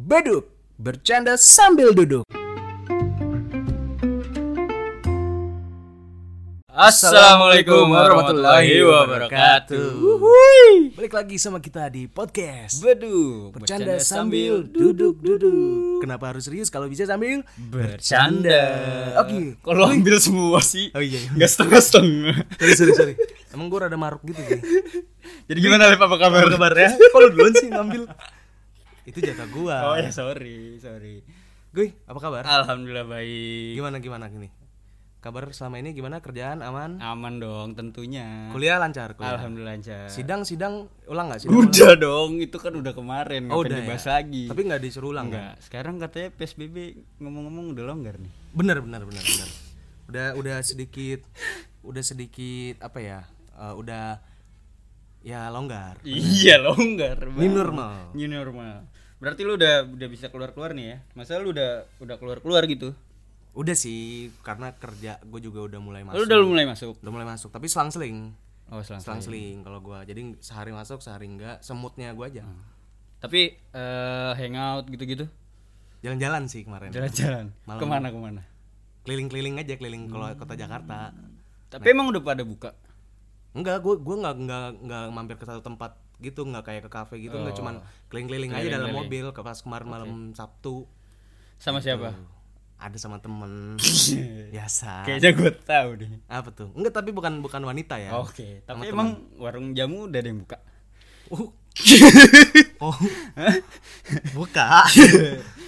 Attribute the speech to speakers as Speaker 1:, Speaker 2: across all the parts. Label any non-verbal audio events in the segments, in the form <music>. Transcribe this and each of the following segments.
Speaker 1: Beduk, bercanda sambil duduk.
Speaker 2: Assalamualaikum warahmatullahi wabarakatuh.
Speaker 1: Wuhui. Balik lagi sama kita di podcast.
Speaker 2: Bedu,
Speaker 1: Bercanda, sambil duduk-duduk. Kenapa harus serius kalau bisa sambil?
Speaker 2: bercanda.
Speaker 1: Oke.
Speaker 2: Kok Kalau ambil semua sih.
Speaker 1: Oh, iya, iya.
Speaker 2: Enggak setengah-setengah.
Speaker 1: <laughs> Sorry, sorry, sorry. Emang gue rada maruk gitu sih.
Speaker 2: Jadi gimana Lep apa kabar?
Speaker 1: ya?
Speaker 2: Kalau duluan sih ngambil.
Speaker 1: Itu jatah gua.
Speaker 2: Oh ya sorry, sorry.
Speaker 1: Guy, apa kabar?
Speaker 2: Alhamdulillah baik.
Speaker 1: Gimana gimana gini? Kabar selama ini gimana? Kerjaan aman?
Speaker 2: Aman dong tentunya.
Speaker 1: Kuliah lancar, kuliah.
Speaker 2: Alhamdulillah lancar.
Speaker 1: Sidang-sidang ulang nggak sidang?
Speaker 2: Udah dong, itu kan udah kemarin,
Speaker 1: Oh,
Speaker 2: ngapain
Speaker 1: udah ya?
Speaker 2: dibahas lagi.
Speaker 1: Tapi nggak disuruh ulang kan?
Speaker 2: enggak. Sekarang katanya PSBB ngomong-ngomong udah longgar nih.
Speaker 1: benar benar benar benar udah udah sedikit udah sedikit apa ya eh, udah ya longgar
Speaker 2: Iya longgar. Bang.
Speaker 1: New normal.
Speaker 2: Oh. New normal. Berarti lu udah udah bisa keluar keluar nih ya? Masa lu udah udah keluar keluar gitu?
Speaker 1: udah sih karena kerja gue juga udah mulai
Speaker 2: Lu
Speaker 1: masuk
Speaker 2: udah mulai masuk?
Speaker 1: udah mulai masuk tapi selang seling
Speaker 2: Oh selang.
Speaker 1: selang seling kalau gue jadi sehari masuk sehari enggak semutnya gue aja
Speaker 2: Tapi eh hangout gitu-gitu?
Speaker 1: jalan-jalan sih kemarin
Speaker 2: Jalan-jalan. Kemana kemana?
Speaker 1: keliling-keliling aja keliling kalau kota Jakarta
Speaker 2: Tapi emang udah pada buka?
Speaker 1: enggak gue gue nggak nggak nggak mampir ke satu tempat gitu nggak kayak ke kafe gitu nggak cuman keliling-keliling aja dalam mobil ke pas kemarin malam Sabtu
Speaker 2: Sama siapa?
Speaker 1: ada sama temen biasa
Speaker 2: Kayaknya gue tahu deh.
Speaker 1: apa tuh enggak tapi bukan bukan wanita ya
Speaker 2: Oke. Tapi emang warung jamu udah ada yang buka? <laughs>
Speaker 1: Uh. oh buka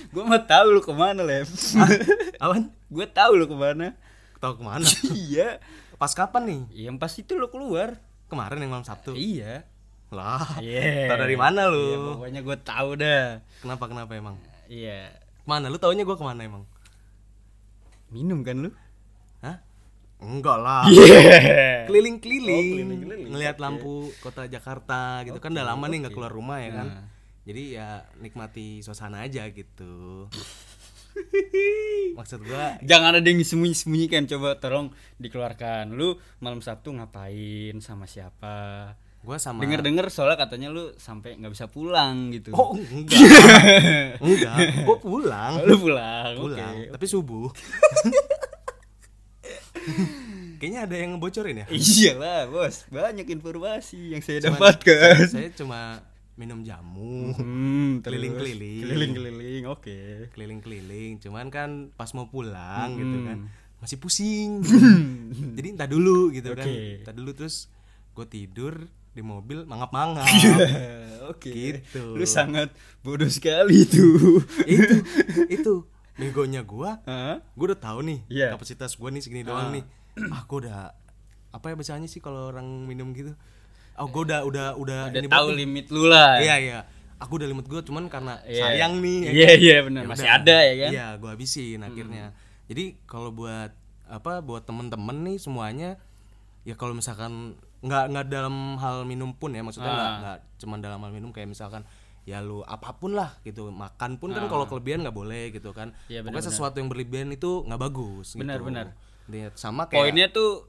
Speaker 2: gue mau tahu lu kemana <laughs> Lev?
Speaker 1: awan
Speaker 2: gue tahu lu kemana? <laughs>
Speaker 1: tahu kemana
Speaker 2: iya.
Speaker 1: pas kapan nih
Speaker 2: Yang pas itu lu keluar.
Speaker 1: kemarin yang malam sabtu
Speaker 2: Iya.
Speaker 1: lah
Speaker 2: Iya.
Speaker 1: tau dari mana lu
Speaker 2: Iya, pokoknya gue tahu dah.
Speaker 1: kenapa kenapa emang
Speaker 2: Iya.
Speaker 1: mana lu taunya gua kemana emang
Speaker 2: Minum kan lu?
Speaker 1: hah enggak
Speaker 2: <laughs>
Speaker 1: lah
Speaker 2: Iya.
Speaker 1: keliling-keliling ngelihat lampu kota Jakarta gitu kan udah lama nih nggak keluar rumah ya kan
Speaker 2: Nah.
Speaker 1: jadi ya nikmati suasana aja
Speaker 2: <laughs>
Speaker 1: gitu maksud gua
Speaker 2: Jangan ada yang disembunyi-sembunyikan, coba tolong dikeluarkan. Lu malam Sabtu ngapain sama siapa?
Speaker 1: gua sama
Speaker 2: Dengar-dengar soalnya katanya lu sampai nggak bisa pulang gitu.
Speaker 1: oh
Speaker 2: <laughs>
Speaker 1: enggak enggak gua pulang
Speaker 2: Lu pulang. Oke.
Speaker 1: pulang tapi subuh <laughs> kayaknya ada yang ngebocorin ya
Speaker 2: Iya, Iyalah, Bos. Banyak informasi yang saya dapatkan.
Speaker 1: saya cuma minum jamu
Speaker 2: Hmm, terus.
Speaker 1: Keliling-keliling.
Speaker 2: Keliling-keliling. Oke.
Speaker 1: keliling-keliling cuman kan pas mau pulang gitu
Speaker 2: Hmm.
Speaker 1: kan masih
Speaker 2: <laughs>
Speaker 1: pusing jadi entah dulu gitu kan
Speaker 2: Oke.
Speaker 1: entah dulu terus gue tidur di mobil mangap-mangap
Speaker 2: Iya. Eh, Oke.
Speaker 1: Gitu.
Speaker 2: Lu sangat bodoh sekali tuh.
Speaker 1: itu itu begonya gue
Speaker 2: Hah?
Speaker 1: gue udah tahu nih
Speaker 2: Iya. Ah.
Speaker 1: kapasitas gue nih segini doang nih aku udah apa ya bahasanya sih kalau orang minum gitu oh gue udah udah udah,
Speaker 2: udah
Speaker 1: ini
Speaker 2: tahu limit lu lah.
Speaker 1: banget. iya iya aku udah limit gue cuman karena
Speaker 2: Iya.
Speaker 1: sayang nih ya
Speaker 2: Iya,
Speaker 1: kan?
Speaker 2: iya benar. Masih
Speaker 1: udah.
Speaker 2: ada ya kan? Hmm.
Speaker 1: Iya, gua habisin akhirnya. Jadi kalau buat apa buat temen-temen nih semuanya ya kalau misalkan nggak nggak dalam hal minum pun ya maksudnya nggak
Speaker 2: Ah.
Speaker 1: nggak cuman dalam hal minum kayak misalkan ya lu apapun lah gitu makan pun kan kalau kelebihan nggak boleh gitu kan
Speaker 2: Ah. Iya,
Speaker 1: pokoknya sesuatu yang berlebihan itu nggak bagus
Speaker 2: Benar,
Speaker 1: gitu.
Speaker 2: benar.
Speaker 1: Intinya sama kayak
Speaker 2: Poinnya tuh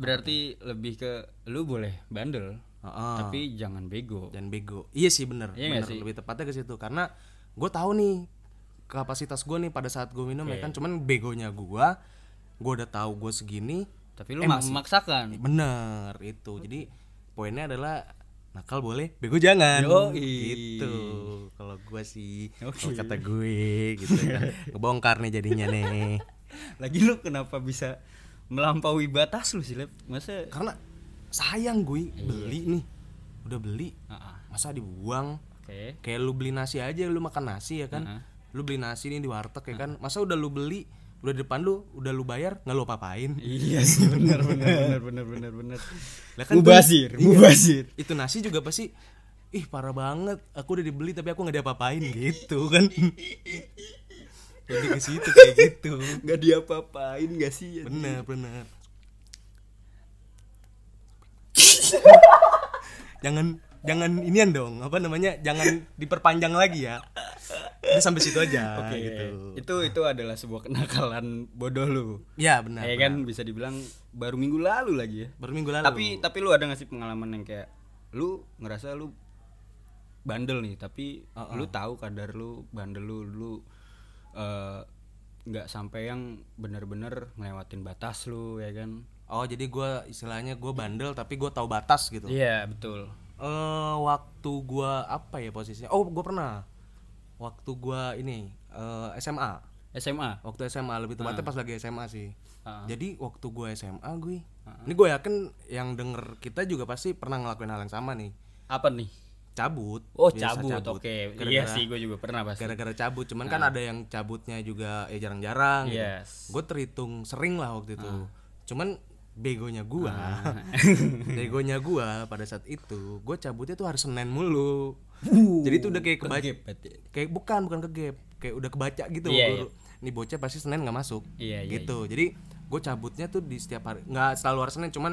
Speaker 2: berarti lebih ke lu boleh bandel,
Speaker 1: Heeh.
Speaker 2: tapi jangan bego.
Speaker 1: dan bego iya sih bener
Speaker 2: Iya nggak
Speaker 1: bener lebih tepatnya ke situ karena gue tahu nih kapasitas gue nih pada saat gue minum
Speaker 2: Iya.
Speaker 1: ya kan cuman begonya gue gue udah tahu gue segini
Speaker 2: Tapi lu mak- Eh, memaksakan.
Speaker 1: bener itu jadi poinnya adalah nakal boleh bego jangan gitu kalau gue sih kalau kata gue gitu kan ngebongkar nih jadinya nih
Speaker 2: <laughs> Lagi lu kenapa bisa melampaui batas lu sih, Lep? Masa
Speaker 1: karena sayang gue
Speaker 2: Iya.
Speaker 1: beli nih udah beli
Speaker 2: Ah, ah.
Speaker 1: masa dibuang
Speaker 2: Oke.
Speaker 1: kayak lu beli nasi aja lu makan nasi ya kan
Speaker 2: Mm-hmm.
Speaker 1: lu beli nasi nih di warteg ya kan masa udah lu beli udah di depan lu udah lu bayar nggak lu papain
Speaker 2: Iya sih benar benar benar benar benar benar.
Speaker 1: Lah kan tuh-
Speaker 2: Mubazir, mubazir.
Speaker 1: itu nasi juga pasti ih parah banget aku udah dibeli tapi aku nggak diapa-apain gitu
Speaker 2: <laughs>
Speaker 1: kan jadi ke situ kayak gitu
Speaker 2: Gak Iya. diapa-apain gak sih?
Speaker 1: bener bener <laughs> jangan jangan inian dong apa namanya jangan diperpanjang lagi ya udah sampai situ aja
Speaker 2: Oke.
Speaker 1: gitu
Speaker 2: Nah, Itu itu adalah sebuah kenakalan bodoh lu.
Speaker 1: ya benar
Speaker 2: Ya kan bisa dibilang baru minggu lalu lagi ya.
Speaker 1: baru minggu lalu
Speaker 2: tapi tapi lu ada nggak sih pengalaman yang kayak lu ngerasa lu bandel nih tapi lu tahu kadar lu bandel lu lu eh, nggak sampai yang bener-bener ngelewatin batas lu ya kan
Speaker 1: Oh jadi gua istilahnya gua bandel tapi gua tahu batas gitu. Eh
Speaker 2: iya betul
Speaker 1: waktu gua apa ya posisinya? Oh gua pernah. Waktu gua ini eh, SMA.
Speaker 2: SMA
Speaker 1: Waktu SMA lebih tepatnya pas lagi SMA sih. Jadi waktu gua SMA gue. Ini gue yakin yang denger kita juga pasti pernah ngelakuin hal yang sama nih.
Speaker 2: apa nih
Speaker 1: Cabut.
Speaker 2: oh
Speaker 1: Biasa
Speaker 2: cabut, oke iya sih gue juga pernah pasti
Speaker 1: Gara-gara cabut, cuman kan ada yang cabutnya juga ya jarang-jarang gitu.
Speaker 2: yes Ah.
Speaker 1: gue terhitung sering lah waktu itu cuman begonya gua <laughs> begonya gua pada saat itu gue cabutnya tuh harus senin mulu jadi tuh udah kayak kebaca
Speaker 2: Kegep berarti.
Speaker 1: kayak bukan bukan kegep kayak udah kebaca gitu
Speaker 2: Iya,
Speaker 1: guru ini bocah pasti senin nggak masuk
Speaker 2: Iya, iya,
Speaker 1: gitu jadi gue cabutnya tuh di setiap hari nggak selalu hari senin cuman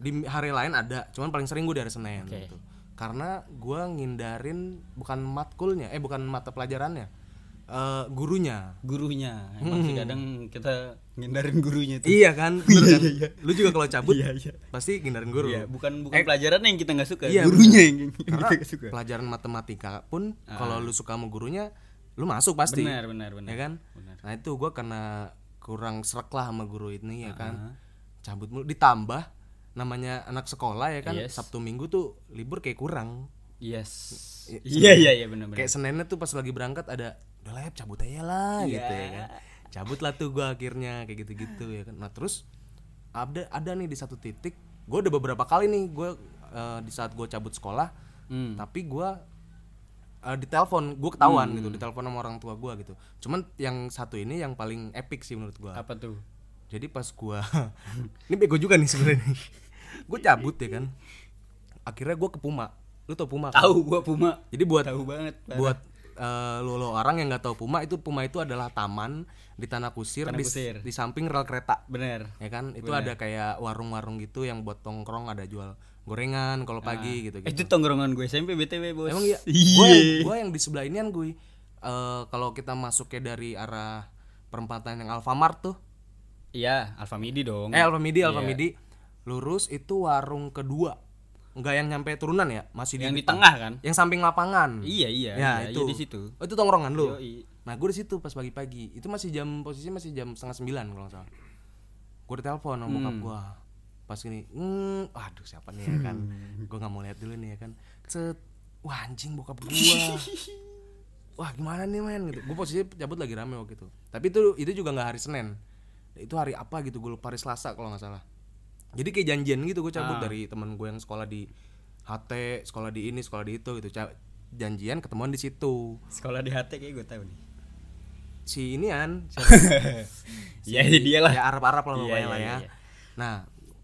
Speaker 1: di hari lain ada cuman paling sering gue di hari senin
Speaker 2: Oke.
Speaker 1: gitu. karena gua ngindarin bukan matkulnya eh bukan mata pelajarannya eh gurunya
Speaker 2: gurunya emang sih kadang kita ngindarin gurunya itu
Speaker 1: Iya kan, bener kan? Lu juga kalau cabut
Speaker 2: Iya, iya.
Speaker 1: pasti ngindarin guru.
Speaker 2: Iya, bukan bukan pelajaran yang kita nggak suka
Speaker 1: Iya,
Speaker 2: gurunya yang yang <laughs>
Speaker 1: Karena
Speaker 2: kita nggak suka
Speaker 1: pelajaran matematika pun kalau lu suka sama gurunya, lu masuk pasti.
Speaker 2: benar benar benar
Speaker 1: Ya kan? Nah, itu gua karena kurang srek lah sama guru ini ya kan. Cabut mulu ditambah namanya anak sekolah ya kan,
Speaker 2: Yes.
Speaker 1: Sabtu Minggu tuh libur kayak kurang.
Speaker 2: yes iya iya iya benar benar
Speaker 1: Kayak Seninnya tuh pas lagi berangkat ada udah lah Yap, cabut aja lah gitu ya kan. Cabut lah tuh gua akhirnya kayak gitu-gitu ya kan. Nah, terus ada ada nih di satu titik gua udah beberapa kali nih gua eh, di saat gua cabut sekolah
Speaker 2: Hmm.
Speaker 1: tapi gua eh, ditelepon gua ketahuan gitu ditelepon sama orang tua gua gitu. Cuman yang satu ini yang paling epic sih menurut gua.
Speaker 2: apa tuh
Speaker 1: Jadi pas gua <laughs> ini bego juga nih sebenarnya. nih. gua cabut ya kan. Akhirnya gua ke Puma. Lu tau Puma kan?
Speaker 2: tahu gua Puma
Speaker 1: Jadi buat
Speaker 2: tahu banget Pak.
Speaker 1: buat eh, lo lo orang yang nggak tahu Puma itu Puma itu adalah taman di tanah kusir,
Speaker 2: Tanah
Speaker 1: di,
Speaker 2: Kusir.
Speaker 1: di samping rel kereta
Speaker 2: bener
Speaker 1: ya kan itu ada kayak warung-warung gitu yang buat tongkrong ada jual gorengan kalau pagi gitu
Speaker 2: Eh,
Speaker 1: gitu
Speaker 2: itu tongkrongan gue SMP BTW bos
Speaker 1: emang iya gue yang,
Speaker 2: Eh, iya
Speaker 1: gua yang di sebelah inian gue Eh, kalau kita masuknya dari arah perempatan yang Alfamart tuh
Speaker 2: iya Alfamidi dong
Speaker 1: eh Alfamidi
Speaker 2: Iya.
Speaker 1: Alfamidi lurus itu warung kedua nggak yang nyampe turunan ya masih
Speaker 2: yang
Speaker 1: di,
Speaker 2: di tengah kan
Speaker 1: yang samping lapangan
Speaker 2: iya iya
Speaker 1: ya,
Speaker 2: iya,
Speaker 1: itu
Speaker 2: iya, di situ Iya,
Speaker 1: Oh, itu tongkrongan lu
Speaker 2: Yoi.
Speaker 1: nah gue di situ pas pagi-pagi itu masih jam posisi masih jam setengah sembilan kalau nggak salah gue ditelepon sama bokap gue pas gini hmm, aduh siapa nih ya kan gue nggak mau lihat dulu nih ya kan cet wah anjing bokap gue wah gimana nih men gitu gue posisi cabut lagi rame waktu itu tapi itu itu juga nggak hari senin itu hari apa gitu gue lupa hari selasa kalau nggak salah jadi kayak janjian gitu gue cabut dari temen gue yang sekolah di HT sekolah di ini sekolah di itu gitu Ca- janjian ketemuan di situ
Speaker 2: sekolah di HT kayak gue tahu
Speaker 1: <laughs>
Speaker 2: nih
Speaker 1: si inian
Speaker 2: <laughs>
Speaker 1: siapa-
Speaker 2: ya dia lah
Speaker 1: ya Arab Arab lah
Speaker 2: Iya,
Speaker 1: pokoknya
Speaker 2: iya,
Speaker 1: lah ya
Speaker 2: iya.
Speaker 1: nah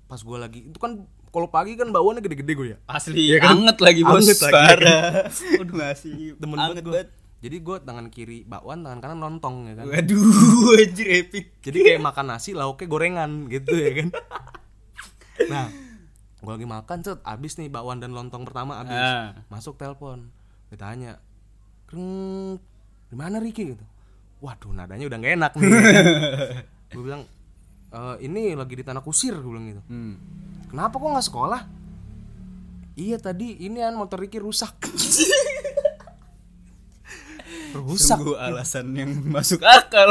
Speaker 1: pas gue lagi itu kan kalau pagi kan bawaannya gede-gede gue ya
Speaker 2: asli anget lagi bos
Speaker 1: Anget lagi.
Speaker 2: parah <laughs> udah masih
Speaker 1: demen banget
Speaker 2: anget
Speaker 1: gue jadi gue tangan kiri bakwan tangan kanan lontong ya kan
Speaker 2: waduh anjir epic
Speaker 1: jadi
Speaker 2: <laughs>
Speaker 1: kayak makan nasi lauknya gorengan gitu ya kan nah gue lagi makan cet abis nih bakwan dan lontong pertama abis
Speaker 2: Ah.
Speaker 1: masuk telepon ditanya kring di mana Riki gitu waduh nadanya udah gak enak
Speaker 2: <laughs>
Speaker 1: nih gue bilang "E, ini lagi di tanah kusir gue bilang gitu
Speaker 2: Hmm.
Speaker 1: kenapa kok nggak sekolah iya tadi ini an motor Riki rusak rusak
Speaker 2: Sungguh alasan yang <laughs> masuk akal.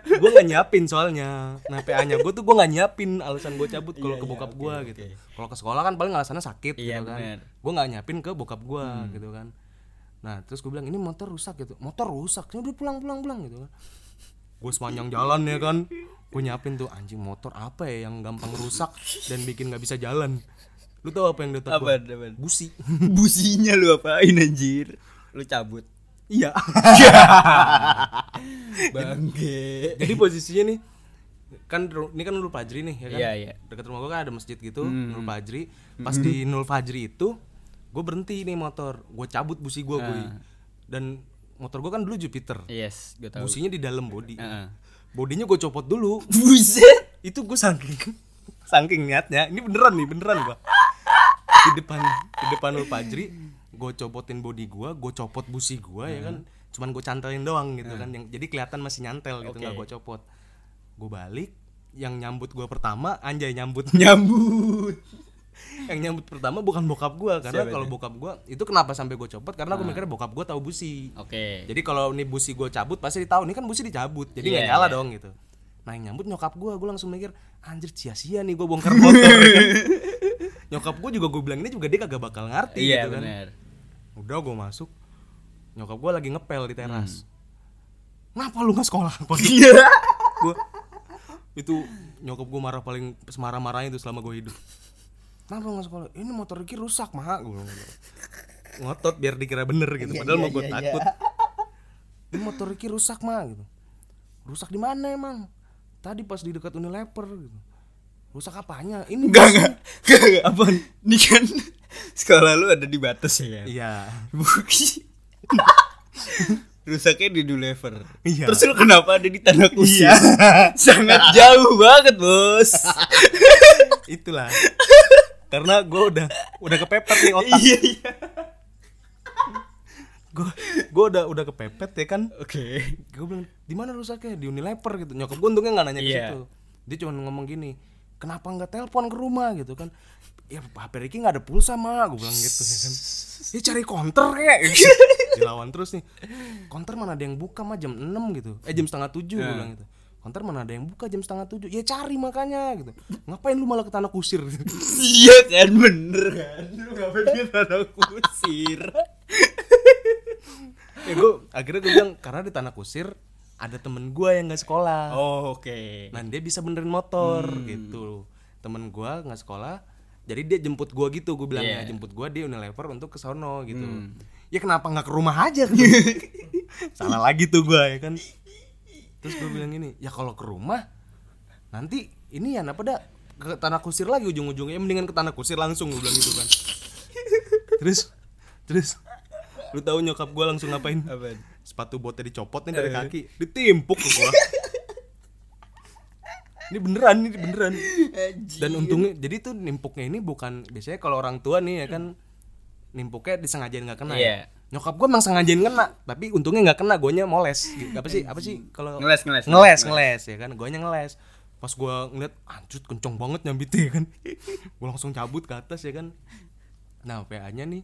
Speaker 1: gue gak nyiapin soalnya nah PA nya gue tuh gue gak nyiapin alasan gue cabut kalau ke bokap gue gitu kalau ke sekolah kan paling alasannya sakit
Speaker 2: Iya,
Speaker 1: gitu kan
Speaker 2: bener. Hmm.
Speaker 1: gue gak nyiapin ke bokap gue gitu kan nah terus gue bilang ini motor rusak gitu motor rusak ya udah pulang pulang pulang gitu kan gue sepanjang jalan ya kan gue nyiapin tuh anjing motor apa ya yang gampang rusak dan bikin nggak bisa jalan lu tau apa yang di otak
Speaker 2: Apa,
Speaker 1: gue
Speaker 2: apa?
Speaker 1: busi
Speaker 2: Businya lu apain anjir? Lu cabut.
Speaker 1: iya
Speaker 2: <laughs> Bangke. <laughs>
Speaker 1: jadi posisinya nih kan ru- ini kan Nurul Fajri nih ya kan
Speaker 2: Iya, Hmm. iya.
Speaker 1: dekat rumah gua kan ada masjid gitu Nurul Fajri pas di Nurul Fajri itu gue berhenti nih motor gue cabut busi
Speaker 2: Ah.
Speaker 1: gue gue dan motor gue kan dulu Jupiter
Speaker 2: Yes, gue Iya, tahu. Ah.
Speaker 1: businya di dalam bodi
Speaker 2: Heeh.
Speaker 1: bodinya gue copot dulu
Speaker 2: Buset.
Speaker 1: itu gue saking <laughs> saking niatnya ini beneran nih beneran gua di depan di depan Nurul Fajri gue copotin bodi gua gue copot busi gua ya kan cuman gue cantelin doang gitu kan yang jadi kelihatan masih nyantel gitu nggak gue copot gue balik yang nyambut <laughs> gua pertama anjay nyambut
Speaker 2: Nyambut.
Speaker 1: yang nyambut pertama bukan bokap gua karena
Speaker 2: Siapa
Speaker 1: kalau bokap gua itu kenapa sampai gua copot karena aku mikirnya bokap gua tahu busi
Speaker 3: Oke.
Speaker 1: jadi kalau nih busi gua cabut pasti tahu nih kan busi dicabut jadi nggak
Speaker 3: Iya,
Speaker 1: nyala
Speaker 3: iya.
Speaker 1: dong gitu nah yang nyambut nyokap gua gua langsung mikir anjir sia-sia nih gua bongkar motor <laughs> nyokap gua juga gua bilang ini juga dia kagak bakal ngerti
Speaker 3: Iya
Speaker 1: gitu kan
Speaker 3: benar.
Speaker 1: udah gua masuk nyokap gua lagi ngepel di
Speaker 3: Hmm.
Speaker 1: teras kenapa lu nggak sekolah
Speaker 3: Iya.
Speaker 1: gua itu nyokap gue marah paling semarah marahnya itu selama gue hidup kenapa nggak sekolah ini motor Ricky rusak mah gue ngotot biar dikira bener gitu
Speaker 3: Iya,
Speaker 1: padahal
Speaker 3: iya,
Speaker 1: mau gue
Speaker 3: iya,
Speaker 1: takut
Speaker 3: iya.
Speaker 1: ini motor Ricky rusak mah gitu rusak di mana emang tadi pas di dekat Unilever gitu rusak apanya ini <laughs>
Speaker 2: Enggak, enggak. Enggak, enggak. Apaan? Ini kan sekolah lu ada di batas ya. kan?
Speaker 1: iya
Speaker 2: Buki. <laughs> Rusaknya di Unilever.
Speaker 1: Iya.
Speaker 2: Terus lu kenapa ada di tanah kusir? <laughs> Sangat jauh banget, Bos.
Speaker 1: itulah karena gue udah udah kepepet nih otak
Speaker 2: iya, iya.
Speaker 1: gue gue udah udah kepepet ya kan
Speaker 2: Oke.
Speaker 1: gue bilang di mana rusaknya di Unilever gitu nyokap gue untungnya nggak nanya ke
Speaker 2: Iya.
Speaker 1: situ dia cuma ngomong gini kenapa nggak telepon ke rumah gitu kan ya HP Ricky nggak ada pulsa mah gue bilang gitu ya kan ya cari counter <laughs> ya gitu. dilawan terus nih counter mana ada yang buka mah jam 6 gitu eh jam setengah tujuh gue bilang gitu counter mana ada yang buka jam setengah tujuh ya cari makanya gitu ngapain lu malah ke tanah kusir <laughs>
Speaker 2: Iya kan bener kan. Lu ngapain di tanah kusir?
Speaker 1: ya gue akhirnya gue bilang karena di tanah kusir ada temen gue yang nggak sekolah
Speaker 2: Oh, oke.
Speaker 1: Nah dia bisa benerin motor gitu Temen gua nggak sekolah Jadi dia jemput gua gitu Gue bilangnya jemput gua dia Unilever untuk ke sono gitu Ya kenapa nggak ke rumah aja gitu Salah lagi tuh gua ya kan Terus gue bilang gini Ya kalau ke rumah Nanti ini ya apa dah Ke tanah kusir lagi ujung-ujungnya Ya, Mendingan ke tanah kusir langsung Gue bilang gitu kan Terus Terus Lu tahu nyokap gua langsung ngapain
Speaker 2: Apaan?
Speaker 1: Sepatu botnya dicopot nih dari kaki Ditimpuk ke gua ini beneran ini beneran dan untungnya jadi tuh nimpuknya ini bukan biasanya kalau orang tua nih ya kan nimpuknya disengajain nggak kena
Speaker 3: Iya.
Speaker 1: ya nyokap gue emang sengajain kena tapi untungnya nggak kena gonya moles gitu. apa sih apa sih kalau
Speaker 2: Ngeles, ngeles,
Speaker 1: ngeles ngeles ya kan gonya ngeles pas gue ngeliat anjut kenceng banget nyambitnya ya kan <laughs> gue langsung cabut ke atas ya kan nah PA nya nih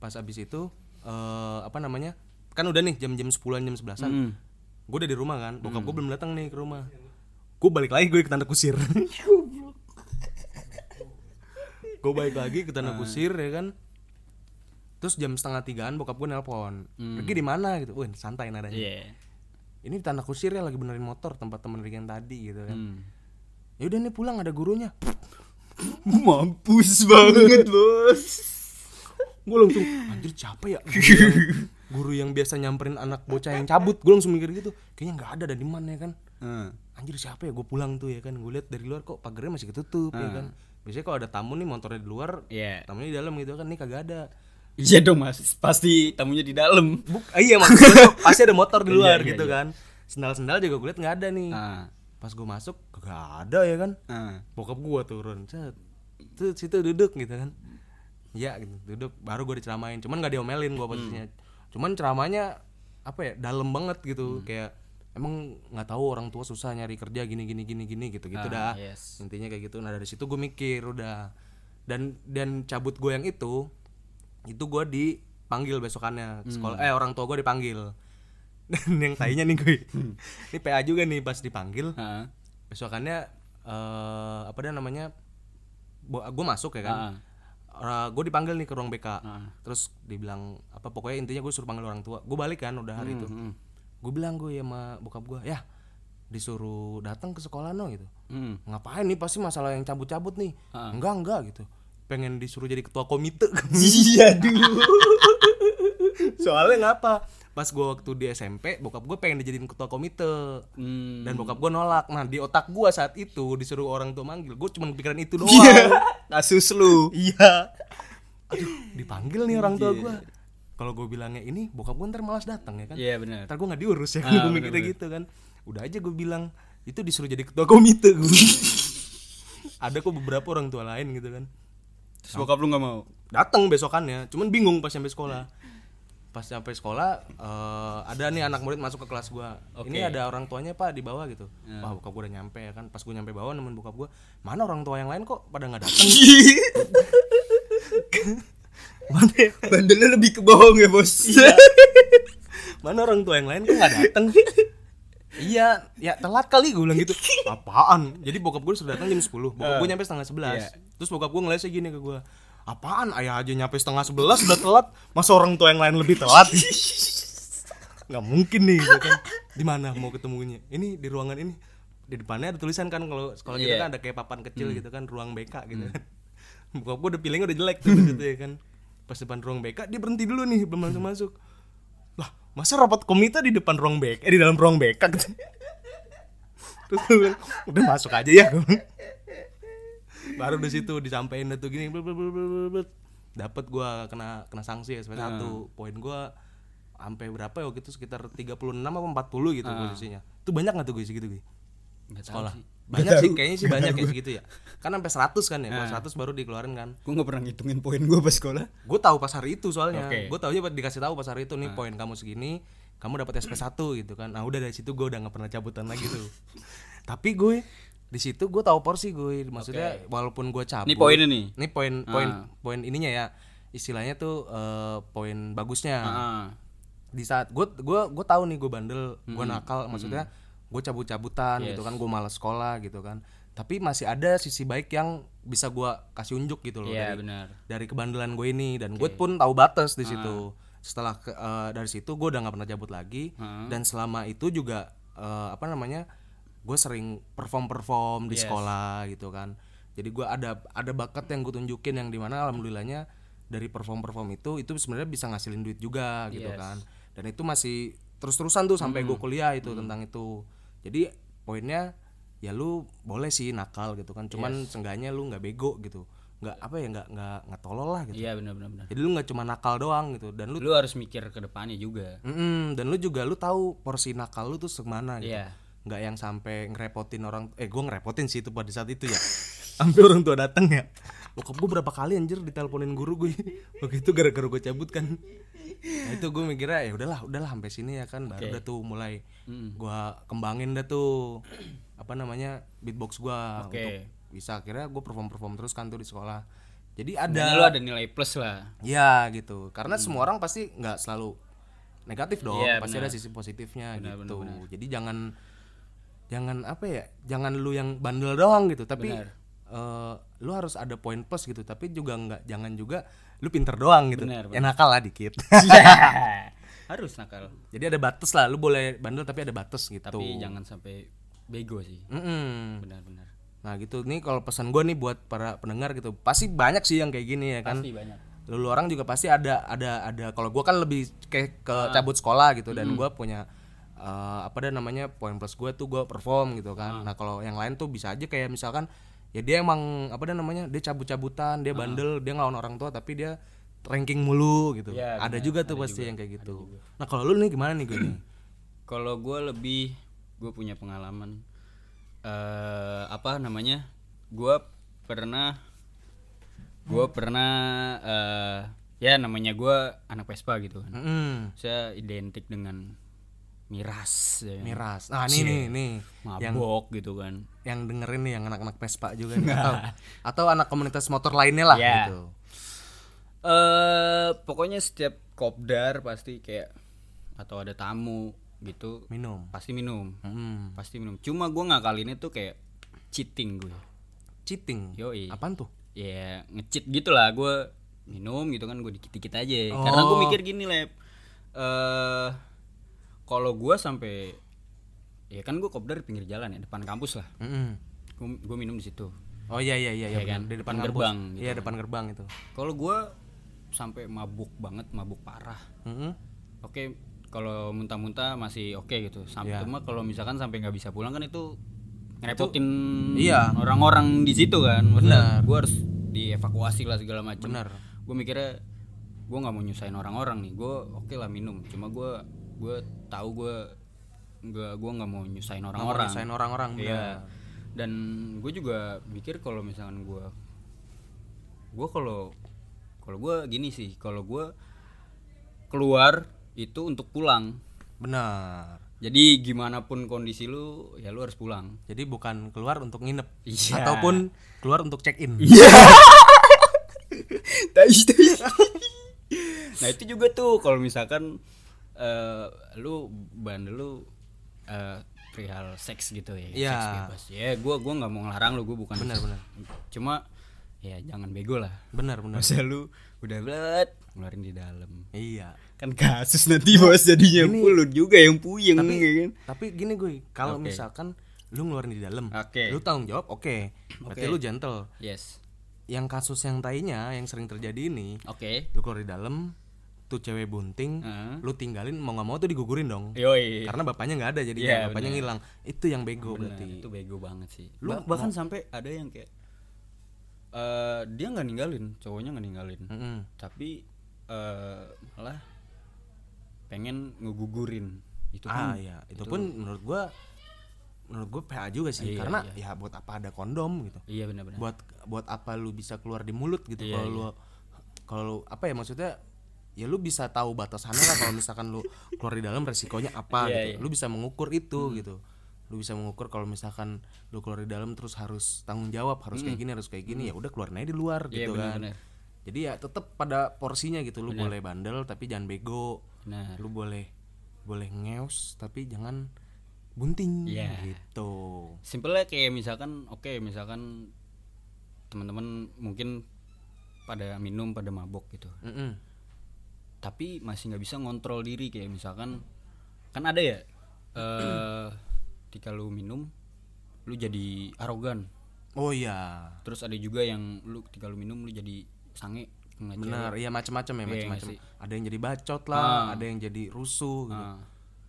Speaker 1: pas abis itu eh apa namanya kan udah nih jam-jam 10-an jam 11-an gue udah di rumah kan bokap gue belum datang nih ke rumah gue balik lagi gue ke tanah kusir <laughs> gue balik lagi ke tanah kusir ya kan terus jam setengah tigaan bokap gue nelpon pergi di mana gitu wah santai nadanya
Speaker 3: Iya.
Speaker 1: ini di tanah kusir ya lagi benerin motor tempat temen Ricky yang tadi gitu kan
Speaker 2: Hmm.
Speaker 1: ya udah nih pulang ada gurunya
Speaker 2: Mampus banget, Bos.
Speaker 1: gue langsung anjir siapa
Speaker 2: <laughs>
Speaker 1: ya guru yang, guru yang biasa nyamperin anak bocah yang cabut gue langsung mikir gitu kayaknya nggak ada dan di mana ya kan
Speaker 2: Heeh.
Speaker 1: anjir siapa ya gue pulang tuh ya kan gue lihat dari luar kok pagarnya masih ketutup ya
Speaker 2: Hmm.
Speaker 1: kan biasanya kalau ada tamu nih motornya di luar
Speaker 3: Iya.
Speaker 1: tamunya di dalam gitu kan nih kagak ada
Speaker 2: Iya dong mas, pasti tamunya di dalam.
Speaker 1: Buk, ah, iya
Speaker 2: <laughs>
Speaker 1: maksudnya tuh pasti ada motor di
Speaker 2: Iya,
Speaker 1: luar
Speaker 2: iya,
Speaker 1: gitu
Speaker 2: iya.
Speaker 1: kan sendal-sendal juga gue liat nggak ada nih
Speaker 2: Ah,
Speaker 1: pas gue masuk kagak ada ya kan
Speaker 2: ah.
Speaker 1: bokap gua turun cet tuh situ duduk gitu kan ya gitu duduk baru gua diceramain cuman nggak diomelin gua posisinya cuman ceramahnya apa ya dalam banget gitu kayak emang nggak tahu orang tua susah nyari kerja gini gini gini gini gitu gitu dah
Speaker 3: yes.
Speaker 1: intinya kayak gitu nah dari situ gue mikir udah dan dan cabut gue yang itu itu gue dipanggil besokannya ke sekolah eh orang tua gue dipanggil <laughs> dan yang tainya nih gue ini PA juga nih pas dipanggil
Speaker 2: Ah.
Speaker 1: besokannya eh apa dia namanya gue masuk ya kan gue dipanggil nih ke ruang BK terus dibilang apa pokoknya intinya gue suruh panggil orang tua gue balik kan udah hari itu gue bilang gue ya sama bokap gue ya disuruh datang ke sekolah no gitu
Speaker 2: Hmm.
Speaker 1: ngapain nih pasti masalah yang cabut-cabut nih enggak enggak gitu pengen disuruh jadi ketua komite <laughs>
Speaker 2: Iya dulu.
Speaker 1: soalnya ngapa pas gue waktu di SMP bokap gue pengen dijadiin ketua komite
Speaker 2: Hmm.
Speaker 1: dan bokap gue nolak nah di otak gue saat itu disuruh orang tua manggil gue cuma kepikiran itu doang
Speaker 2: Iya. Kasus lu.
Speaker 1: iya aduh dipanggil nih orang tua gue kalau gue bilangnya ini bokap gue ntar malas datang ya kan
Speaker 2: Iya benar.
Speaker 1: ntar gue nggak diurus ya kan gue mikirnya gitu kan udah aja gue bilang itu disuruh jadi ketua komite <laughs> gue ada kok beberapa orang tua lain gitu kan
Speaker 2: Terus bokap lu nggak mau.
Speaker 1: datang besokannya cuman bingung pas sampai sekolah pas sampai sekolah eh, ada nih anak murid masuk ke kelas gua ini
Speaker 2: Oke.
Speaker 1: ada orang tuanya pak di bawah gitu wah bokap gua udah nyampe ya kan pas gua nyampe bawah nemuin bokap gua mana orang tua yang lain kok pada nggak datang
Speaker 2: Bandelnya lebih ke bohong ya bos.
Speaker 1: <laughs> mana orang tua yang lain kok nggak
Speaker 2: <laughs>
Speaker 1: datang <laughs> iya ya telat kali gue <laughs> bilang gitu apaan jadi bokap gue sudah datang jam 10 bokap gue nyampe setengah 11 terus bokap gue ngelesnya gini ke gue apaan ayah aja nyampe setengah 11 udah telat masa orang tua yang lain lebih <laughs> telat nggak mungkin nih gitu kan di mana mau ketemunya ini di ruangan ini di depannya ada tulisan kan kalau sekolah kita
Speaker 2: Iya.
Speaker 1: kan ada kayak papan kecil gitu kan ruang BK gitu kan <laughs> bokap gue udah pilihnya udah jelek tuh gitu ya kan pas depan ruang BK dia berhenti dulu nih belum langsung masuk lah masa rapat komite di depan ruang BK eh, di dalam ruang BK gitu <laughs> terus gue bilang, udah masuk aja ya gue bilang. baru di situ disampaikan tuh gini blub, blub, blub, blub, blub. dapet gue kena kena sanksi ya sebenarnya satu poin gue sampai berapa ya waktu itu sekitar 36 apa 40 gitu posisinya itu banyak nggak tuh gue segitu gue sekolah banyak sih kayaknya sih banyak kayak segitu ya kan sampai 100 kan ya kalau 100 baru dikeluarin kan
Speaker 2: Gue nggak pernah ngitungin poin gue pas sekolah.
Speaker 1: gue tahu pas hari itu soalnya
Speaker 2: Oke.
Speaker 1: gue tahu aja dikasih tahu pas hari itu nih poin kamu segini kamu dapat SP1 gitu kan nah udah dari situ gue udah nggak pernah cabutan lagi tuh tapi gue di situ gue tahu porsi gue maksudnya walaupun gue cabut
Speaker 2: Ini poinnya nih.
Speaker 1: ini poin poin poin ininya ya istilahnya tuh eh, poin bagusnya
Speaker 2: Ah.
Speaker 1: di saat gue gua gue tahu nih gue bandel gue nakal maksudnya gue cabut cabutan gitu kan gue malas sekolah gitu kan tapi masih ada sisi baik yang bisa gue kasih unjuk gitu loh
Speaker 2: Iya
Speaker 1: dari
Speaker 2: benar.
Speaker 1: dari kebandelan gue ini dan gue pun tahu batas di situ setelah ke- eh, dari situ gue udah nggak pernah cabut lagi dan selama itu juga eh, apa namanya gue sering perform perform di sekolah gitu kan jadi gue ada ada bakat yang gue tunjukin yang dimana alhamdulillahnya dari perform perform itu itu sebenarnya bisa ngasilin duit juga gitu kan dan itu masih terus terusan tuh sampai gue kuliah itu tentang itu jadi poinnya ya lu boleh sih nakal gitu kan cuman seenggaknya lu nggak bego gitu nggak apa ya nggak nggak nggak tolol lah gitu
Speaker 2: Iya benar benar benar.
Speaker 1: jadi lu nggak cuma nakal doang gitu dan lu
Speaker 2: Lu harus mikir ke depannya juga.
Speaker 1: Mm-mm, dan lu juga lu tahu porsi nakal lu tuh semana gitu
Speaker 2: Iya.
Speaker 1: nggak yang sampai ngerepotin orang eh gua ngerepotin sih itu pada saat itu ya <laughs> sampai orang tua datang ya bokap gue berapa kali anjir diteleponin guru gue <laughs> waktu itu gara-gara gue cabut kan nah itu gue mikirnya ya udahlah udahlah sampai sini ya kan baru udah tuh mulai gua kembangin dah tuh apa namanya beatbox gua
Speaker 2: Oke.
Speaker 1: untuk bisa akhirnya gue perform perform terus kan tuh di sekolah jadi ada
Speaker 2: Dan lu ada nilai plus <laughs> lah.
Speaker 1: Ya gitu, karena semua orang pasti nggak selalu negatif dong,
Speaker 2: Hmm. Iya,
Speaker 1: pasti
Speaker 2: benar.
Speaker 1: ada sisi positifnya gitu. Jadi jangan jangan apa ya, jangan lu yang bandel doang gitu, tapi eh, lu harus ada poin plus gitu, tapi juga nggak jangan juga lu pinter doang gitu,
Speaker 2: Benar,
Speaker 1: ya nakal lah dikit. <laughs>
Speaker 2: harus nakal.
Speaker 1: Jadi ada batas lah, lu boleh bandel tapi ada batas gitu.
Speaker 2: Tapi jangan sampai bego sih.
Speaker 1: Mm-mm.
Speaker 2: Benar benar.
Speaker 1: Nah gitu nih kalau pesan gua nih buat para pendengar gitu, pasti banyak sih yang kayak gini ya kan.
Speaker 2: Pasti banyak.
Speaker 1: lu orang juga pasti ada ada ada kalau gua kan lebih kayak ke cabut sekolah gitu dan gua punya eh, apa dan namanya poin plus gua tuh gua perform gitu kan nah kalau yang lain tuh bisa aja kayak misalkan ya dia emang apa dan namanya dia cabut-cabutan dia bandel dia ngelawan orang tua tapi dia ranking mulu gitu
Speaker 2: Iya,
Speaker 1: ada juga tuh pasti yang kayak gitu nah kalau lu nih gimana nih gue <clears throat> nih
Speaker 2: Kalau gue lebih gue punya pengalaman eh apa namanya? Gue pernah gue pernah eh ya namanya gue anak Vespa gitu kan.
Speaker 1: Mm-mm.
Speaker 2: Saya identik dengan miras ya kan.
Speaker 1: miras nah ini nih nih
Speaker 2: mabok gitu kan.
Speaker 1: yang dengerin nih yang anak-anak Vespa juga <laughs> nih atau atau anak komunitas motor lainnya lah
Speaker 2: Iya.
Speaker 1: gitu
Speaker 2: Eh pokoknya setiap kopdar pasti kayak atau ada tamu gitu
Speaker 1: minum
Speaker 2: pasti minum.
Speaker 1: Mm.
Speaker 2: Pasti minum. Cuma gue ngakalinnya tuh kayak cheating gue.
Speaker 1: cheating
Speaker 2: Yoi.
Speaker 1: apaan tuh
Speaker 2: ya ngecit gitu lah gue minum gitu kan gue dikit-dikit aja karena gue mikir gini lep eh kalau gue sampai ya kan gue kopdar di pinggir jalan ya depan kampus lah
Speaker 1: Mm-mm.
Speaker 2: gue minum di situ
Speaker 1: Oh iya iya iya, iya
Speaker 2: Iya kan?
Speaker 1: benar. di depan
Speaker 2: Depan
Speaker 1: kampus.
Speaker 2: gerbang gitu
Speaker 1: Iya depan gerbang itu.
Speaker 2: kalau gue sampai mabuk banget mabuk parah
Speaker 1: Mm-mm.
Speaker 2: oke kalau muntah-muntah masih oke gitu sampai cuma kalau misalkan sampai nggak bisa pulang kan itu ngerepotin
Speaker 1: iya.
Speaker 2: orang-orang di situ kan benar gue harus dievakuasi lah segala macam
Speaker 1: Benar.
Speaker 2: gue mikirnya gue nggak mau nyusahin orang-orang nih gue oke lah minum cuma gue gue tahu gue nggak gue nggak mau nyusahin orang-orang
Speaker 1: Nyusahin orang-orang.
Speaker 2: Iya. Dan gue juga mikir kalau misalkan gue, gue kalau kalau gue gini sih, kalau gue keluar itu untuk pulang
Speaker 1: benar
Speaker 2: jadi gimana pun kondisi lu ya lu harus pulang
Speaker 1: jadi bukan keluar untuk nginep
Speaker 2: Iya.
Speaker 1: ataupun keluar untuk check in
Speaker 2: nah itu juga tuh kalau misalkan eh, lu bandel lu eh, perihal seks gitu ya
Speaker 1: Iya.
Speaker 2: seks bebas ya gua gua nggak mau ngelarang lu gua bukan
Speaker 1: Benar, benar.
Speaker 2: cuma ya jangan bego lah
Speaker 1: benar benar
Speaker 2: masa lu udah belet ngeluarin di dalam
Speaker 1: iya
Speaker 2: kan kasus nanti bos jadinya pulut juga yang puyeng ya kan
Speaker 1: tapi gini gue kalau
Speaker 2: Oke.
Speaker 1: misalkan lu ngeluarin di dalam
Speaker 2: Oke.
Speaker 1: lu tanggung jawab oke berarti
Speaker 2: Oke.
Speaker 1: lu gentle
Speaker 2: yes
Speaker 1: yang kasus yang tainya yang sering terjadi ini
Speaker 2: oke
Speaker 1: lu keluar di dalam tuh cewek bunting
Speaker 2: Heeh.
Speaker 1: lu tinggalin mau nggak mau tuh digugurin dong
Speaker 2: yoi
Speaker 1: karena bapaknya nggak ada jadi
Speaker 2: Iya,
Speaker 1: bapaknya ngilang itu yang bego
Speaker 2: Benar,
Speaker 1: berarti
Speaker 2: itu bego banget sih
Speaker 1: Lu
Speaker 2: lu bahkan sampai ada yang kayak eh dia nggak ninggalin cowoknya nggak ninggalin
Speaker 1: Mm-mm.
Speaker 2: tapi eh malah pengen ngegugurin itu
Speaker 1: ah
Speaker 2: kan
Speaker 1: ya itu, pun menurut gua menurut gua PA juga sih
Speaker 2: Iya,
Speaker 1: karena ya buat apa ada kondom gitu
Speaker 2: iya benar-benar
Speaker 1: buat buat apa lu bisa keluar di mulut gitu
Speaker 2: Iya,
Speaker 1: kalau lu kalau lu- apa ya maksudnya ya lu bisa tahu batasannya lah kalau misalkan lu keluar di dalam resikonya apa
Speaker 2: Iya,
Speaker 1: gitu
Speaker 2: iya. Hmm.
Speaker 1: lu bisa mengukur itu gitu lu bisa mengukur kalau misalkan lu keluar di dalam terus harus tanggung jawab harus kayak gini harus kayak gini ya udah keluar aja di luar
Speaker 2: Hmm. Iya,
Speaker 1: gitu kan
Speaker 2: benar-benar.
Speaker 1: jadi ya tetap pada porsinya gitu lu boleh bandel tapi jangan bego
Speaker 2: Benar.
Speaker 1: lu boleh boleh ngeus tapi jangan bunting
Speaker 2: Iya.
Speaker 1: gitu
Speaker 2: simpelnya kayak misalkan oke misalkan teman-teman mungkin pada minum pada mabok gitu
Speaker 1: Mm-mm.
Speaker 2: tapi masih nggak bisa ngontrol diri kayak misalkan kan ada ya eh ketika lu minum lu jadi arogan
Speaker 1: oh iya
Speaker 2: terus ada juga yang lu ketika lu minum lu jadi sange ngece-
Speaker 1: benar iya macam-macam ya
Speaker 2: Iya,
Speaker 1: macam-macam
Speaker 2: nggak
Speaker 1: ada yang jadi bacot lah ada yang jadi rusuh gitu.
Speaker 2: Ah.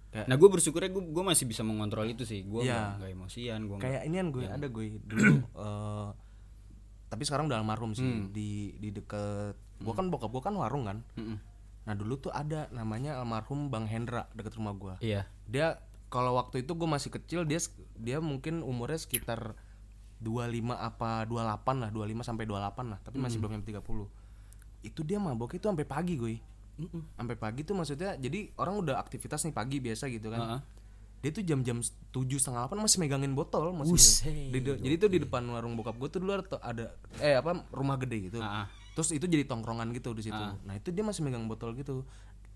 Speaker 1: Kayak-
Speaker 2: nah gue bersyukurnya gue gue masih bisa mengontrol itu sih gue
Speaker 1: Iya.
Speaker 2: nggak Iya. emosian gue
Speaker 1: kayak inian gue ada
Speaker 2: <clears throat>
Speaker 1: gue dulu eh, tapi sekarang udah almarhum sih
Speaker 2: Hmm.
Speaker 1: di di deket gua kan bokap gua kan warung kan
Speaker 2: Hmm.
Speaker 1: nah dulu tuh ada namanya almarhum bang Hendra deket rumah gua
Speaker 2: iya
Speaker 1: dia kalau waktu itu gue masih kecil dia sek- dia mungkin umurnya sekitar 25 apa 28 lah 25 sampai 28 lah tapi masih belum nyampe 30 itu dia mabok itu sampai pagi gue sampai pagi tuh maksudnya jadi orang udah aktivitas nih pagi biasa gitu kan
Speaker 2: Heeh.
Speaker 1: dia tuh jam-jam tujuh setengah delapan masih megangin botol masih Di de- jadi tuh di depan warung bokap gue tuh dulu ada- ada eh apa rumah gede gitu
Speaker 2: Ah, ah.
Speaker 1: terus itu jadi tongkrongan gitu di situ nah itu dia masih megang botol gitu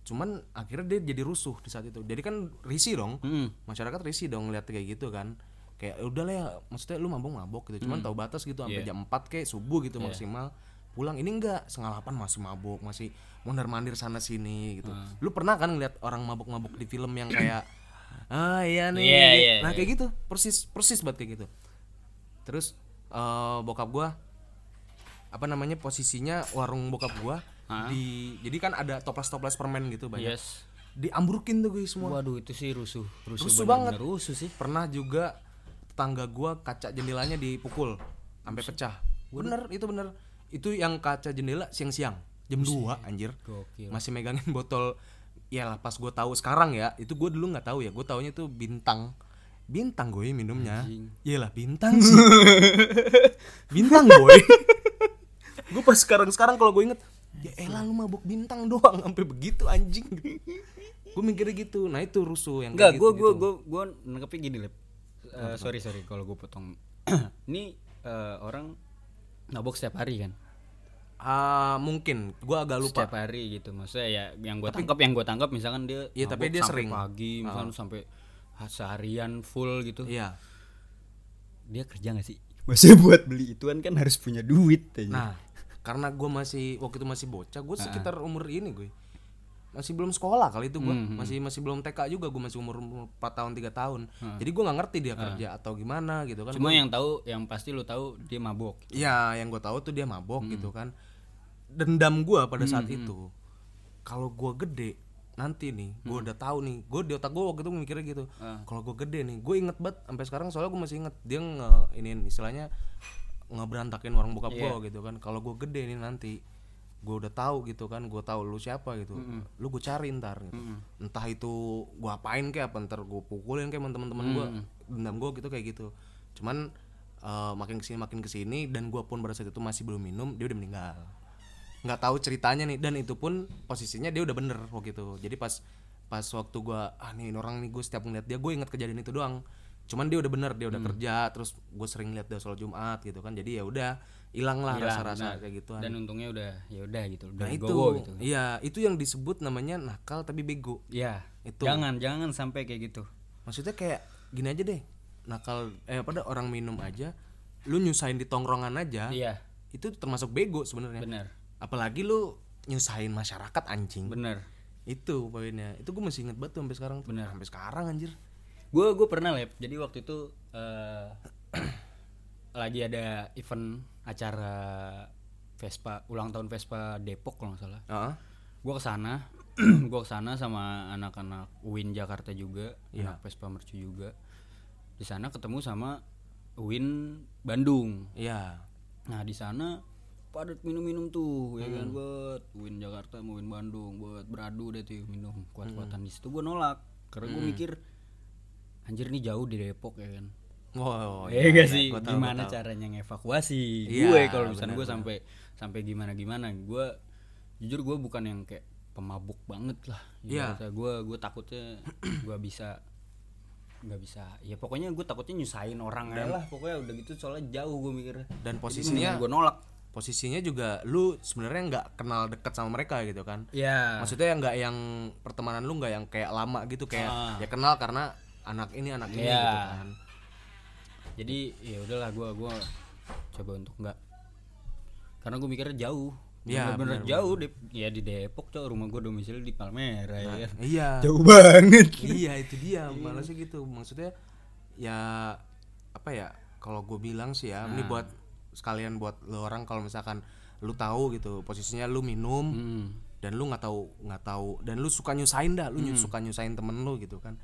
Speaker 1: cuman akhirnya dia jadi rusuh di saat itu jadi kan risih dong
Speaker 2: Mm-mm.
Speaker 1: masyarakat risih dong ngeliat kayak gitu kan kayak udah lah ya maksudnya lu mabok mabok gitu cuman
Speaker 2: Hmm.
Speaker 1: tahu batas gitu sampai
Speaker 2: Iya.
Speaker 1: jam 4 kayak subuh gitu maksimal pulang ini enggak setengah delapan masih mabok masih mondar mandir sana sini
Speaker 2: Ah.
Speaker 1: gitu lu pernah kan ngeliat orang mabok mabok di film yang kayak ah iya nih
Speaker 2: Iya, iya,
Speaker 1: nah kayak gitu persis persis banget kayak gitu terus eh, bokap gua apa namanya posisinya warung bokap gua di jadi kan ada toples toples permen gitu banyak
Speaker 2: yes
Speaker 1: diambrukin tuh gue semua
Speaker 2: waduh itu sih rusuh rusuh,
Speaker 1: Rusuh
Speaker 2: bener-bener rusuh sih
Speaker 1: pernah juga tetangga gua kaca jendelanya dipukul sampai pecah bener itu bener itu yang kaca jendela siang-siang jam 2 anjir
Speaker 2: Gokil.
Speaker 1: masih megangin <laughs> botol ya lah pas gue tahu sekarang ya itu gue dulu nggak tahu ya gue taunya itu bintang bintang gue minumnya iyalah bintang sih <laughs> bintang boy <laughs> gue pas sekarang sekarang kalau gue inget ya elah lu mabuk bintang doang <laughs> sampai begitu anjing gue mikirnya gitu nah itu rusuh yang
Speaker 2: Enggak,
Speaker 1: kayak
Speaker 2: gue
Speaker 1: gitu-
Speaker 2: gue gue gue nangkepnya gini lip. Eh, sorry sorry kalau gue potong. <clears throat> Ini eh, orang mabok setiap hari kan.
Speaker 1: Ah, mungkin gua agak lupa.
Speaker 2: Setiap hari gitu. Maksudnya ya yang gue tangkap yang gue tangkap misalkan dia.
Speaker 1: Iya, tapi
Speaker 2: mabok
Speaker 1: dia
Speaker 2: sampai
Speaker 1: sering. Ah.
Speaker 2: Pagi misalkan sampai seharian full gitu.
Speaker 1: Iya.
Speaker 2: Dia kerja gak sih? <laughs> Maksudnya buat beli ituan kan harus punya duit.
Speaker 1: Nah, karena gua masih waktu itu masih bocah, gua sekitar umur ini gue. Masih belum sekolah kali itu gua. Masih masih belum TK juga, gua masih umur, umur 4 tahun 3 tahun. Jadi gua nggak ngerti dia kerja atau gimana gitu kan.
Speaker 2: Cuma yang tahu yang pasti lu tahu dia mabok.
Speaker 1: Iya, yang gue tahu tuh dia mabok gitu kan. Dendam gua pada saat itu. Kalau gua gede nanti nih, gua udah tahu nih. Gue di otak gue waktu itu mikirnya gitu. Kalau gue gede nih, gue inget banget sampai sekarang soalnya gue masih inget dia nge ini istilahnya ngeberantakin warung bokap gua gitu kan. Kalau gue gede nih nanti gue udah tahu gitu kan, gue tahu lu siapa gitu, lu gue cari ntar gitu, entah itu gue apain kayak apa ntar gue pukulin kayak sama teman-teman gua dendam gue gitu kayak gitu, cuman eh makin kesini makin kesini dan gue pun pada saat itu masih belum minum dia udah meninggal nggak tahu ceritanya nih dan itu pun posisinya dia udah bener waktu itu jadi pas pas waktu gua ah nih ini orang nih gue setiap ngeliat dia gue inget kejadian itu doang cuman dia udah bener dia udah
Speaker 2: Mm.
Speaker 1: kerja terus gue sering lihat dia sholat jumat gitu kan jadi ya udah hilang lah
Speaker 2: Hilang,
Speaker 1: rasa-rasa
Speaker 2: benar.
Speaker 1: kayak gitu. gituan
Speaker 2: dan untungnya udah ya udah gitu udah
Speaker 1: nah itu
Speaker 2: legowo gitu
Speaker 1: iya itu yang disebut namanya nakal tapi bego
Speaker 2: ya
Speaker 1: Itu.
Speaker 2: jangan jangan sampai kayak gitu
Speaker 1: maksudnya kayak gini aja deh nakal eh pada orang minum aja lu nyusahin di tongkrongan aja
Speaker 2: iya
Speaker 1: itu termasuk bego sebenarnya
Speaker 2: bener
Speaker 1: apalagi lu nyusahin masyarakat anjing
Speaker 2: bener
Speaker 1: itu poinnya itu gue masih inget banget tuh sampai sekarang tuh sampai sekarang anjir
Speaker 2: gue gue pernah lab jadi waktu itu eh, <clears throat> lagi ada event acara Vespa ulang tahun Vespa Depok kalau nggak salah
Speaker 1: Heeh.
Speaker 2: gue <clears throat> kesana gue kesana sama anak-anak Win Jakarta juga anak Vespa Mercu juga di sana ketemu sama Win Bandung
Speaker 1: iya
Speaker 2: nah di sana padat minum-minum tuh ya kan buat Win Jakarta mau Win Bandung buat beradu deh tuh minum kuat-kuatan di situ gue nolak karena gue mikir anjir nih jauh di Depok ya kan
Speaker 1: wow
Speaker 2: ya gak sih gimana caranya ngevakuasi
Speaker 1: Iya,
Speaker 2: gue kalau misalnya gue sampai sampai gimana gimana gue jujur gue bukan yang kayak pemabuk banget lah
Speaker 1: Iya.
Speaker 2: ibaratnya. gue gue takutnya <clears throat> gue bisa nggak bisa ya pokoknya gue takutnya nyusahin orang aja lah pokoknya udah gitu soalnya jauh gue mikirnya
Speaker 1: dan posisinya
Speaker 2: gue nolak
Speaker 1: posisinya juga lu sebenarnya nggak kenal dekat sama mereka gitu kan
Speaker 2: ya
Speaker 1: maksudnya yang nggak yang pertemanan lu nggak yang kayak lama gitu kayak ya kenal karena anak ini anak ini
Speaker 2: Iya.
Speaker 1: gitu kan
Speaker 2: jadi ya udahlah gue gue coba untuk nggak karena gue mikirnya jauh
Speaker 1: Iya,
Speaker 2: bener-bener jauh Dep- ya di Depok coy rumah gue domisili di Palmera ya kan.
Speaker 1: iya
Speaker 2: jauh banget
Speaker 1: iya itu dia malasnya gitu maksudnya ya apa ya kalau gue bilang sih ya ini buat sekalian buat lo orang kalau misalkan lu tahu gitu posisinya lu minum dan lu nggak tahu nggak tahu dan lu suka nyusahin dah lu nyu- suka nyusahin temen lu gitu kan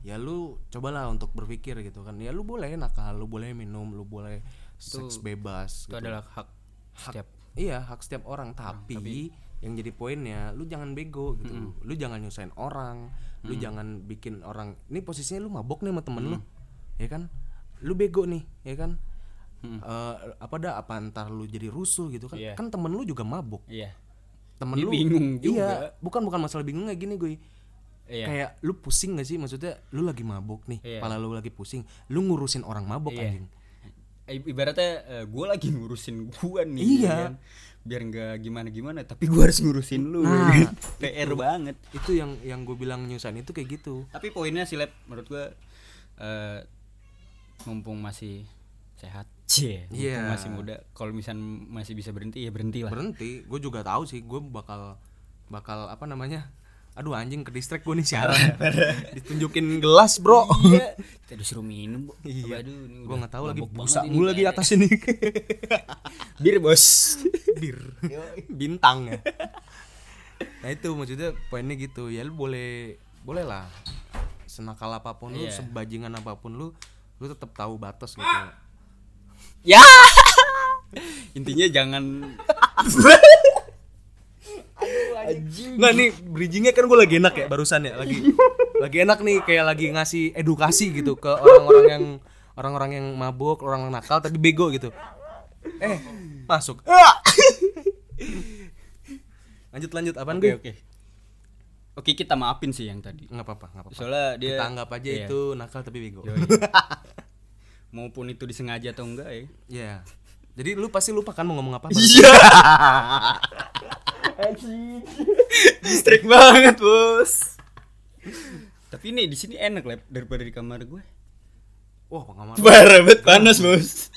Speaker 1: ya lu cobalah untuk berpikir gitu kan ya lu boleh nakal lu boleh minum lu boleh seks bebas
Speaker 2: itu adalah hak setiap
Speaker 1: Iya hak setiap orang
Speaker 2: Nah,
Speaker 1: tapi, yang jadi poinnya lu jangan bego gitu, lu jangan nyusahin orang, lu jangan bikin orang ini posisinya lu mabok nih sama temen lu, ya kan, lu bego nih, ya kan, Eh, apa dah apa ntar lu jadi rusuh gitu kan,
Speaker 2: Mm. Iya.
Speaker 1: kan temen lu juga mabok,
Speaker 2: iya
Speaker 1: temen
Speaker 2: Dia
Speaker 1: lu
Speaker 2: bingung
Speaker 1: iya bukan bukan masalah bingungnya gini gue,
Speaker 2: iya
Speaker 1: kayak lu pusing gak sih maksudnya lu lagi mabok nih,
Speaker 2: Iya.
Speaker 1: kepala lu lagi pusing, lu ngurusin orang mabok anjing,
Speaker 2: I- ibaratnya gue lagi ngurusin gua nih
Speaker 1: Iya.
Speaker 2: ya kan. biar nggak gimana gimana tapi gua harus ngurusin lu ya kan. pr banget
Speaker 1: itu yang yang gue bilang nyusahin itu kayak gitu,
Speaker 2: tapi poinnya sih Lep, menurut gua eh, mumpung masih sehat cie mumpung
Speaker 1: Iya.
Speaker 2: masih muda kalau misal masih bisa berhenti ya berhenti lah
Speaker 1: berhenti gue juga tahu sih gue bakal bakal apa namanya aduh anjing ke distrik gue nih <laughs> siaran ditunjukin gelas bro
Speaker 2: iya
Speaker 1: <laughs>
Speaker 2: kita disuruh minum Bo.
Speaker 1: Iya.
Speaker 2: aduh
Speaker 1: gue
Speaker 2: ini udah
Speaker 1: nggak tahu lagi
Speaker 2: mabok banget
Speaker 1: busa
Speaker 2: ini.
Speaker 1: mulu lagi atas ini
Speaker 2: bir bos
Speaker 1: <laughs> bir bintang ya nah itu maksudnya poinnya gitu ya lu boleh boleh lah senakal apapun lu sebajingan apapun lu lu tetap tahu batas gitu
Speaker 2: <laughs> ya intinya jangan
Speaker 1: Nggak nih bridgingnya kan gue lagi enak ya barusan ya lagi lagi enak nih kayak lagi ngasih edukasi gitu ke orang-orang yang orang-orang yang mabuk orang yang nakal tapi bego gitu eh masuk Ah! lanjut lanjut apaan
Speaker 2: Oke
Speaker 1: gue
Speaker 2: oke. Oke kita maafin sih yang tadi.
Speaker 1: nggak apa-apa nggak apa-apa
Speaker 2: Soalnya dia
Speaker 1: kita anggap aja
Speaker 2: iya.
Speaker 1: itu nakal tapi bego ya
Speaker 2: Yoi. <laughs> maupun itu disengaja atau enggak <laughs> ya.
Speaker 1: Iya. jadi lu pasti lupa kan mau ngomong apa
Speaker 2: Iya. Distrik banget bos. Tapi nih di sini enak lah daripada di kamar gue.
Speaker 1: wah pengamat
Speaker 2: <laughs> Parah banget panas bos.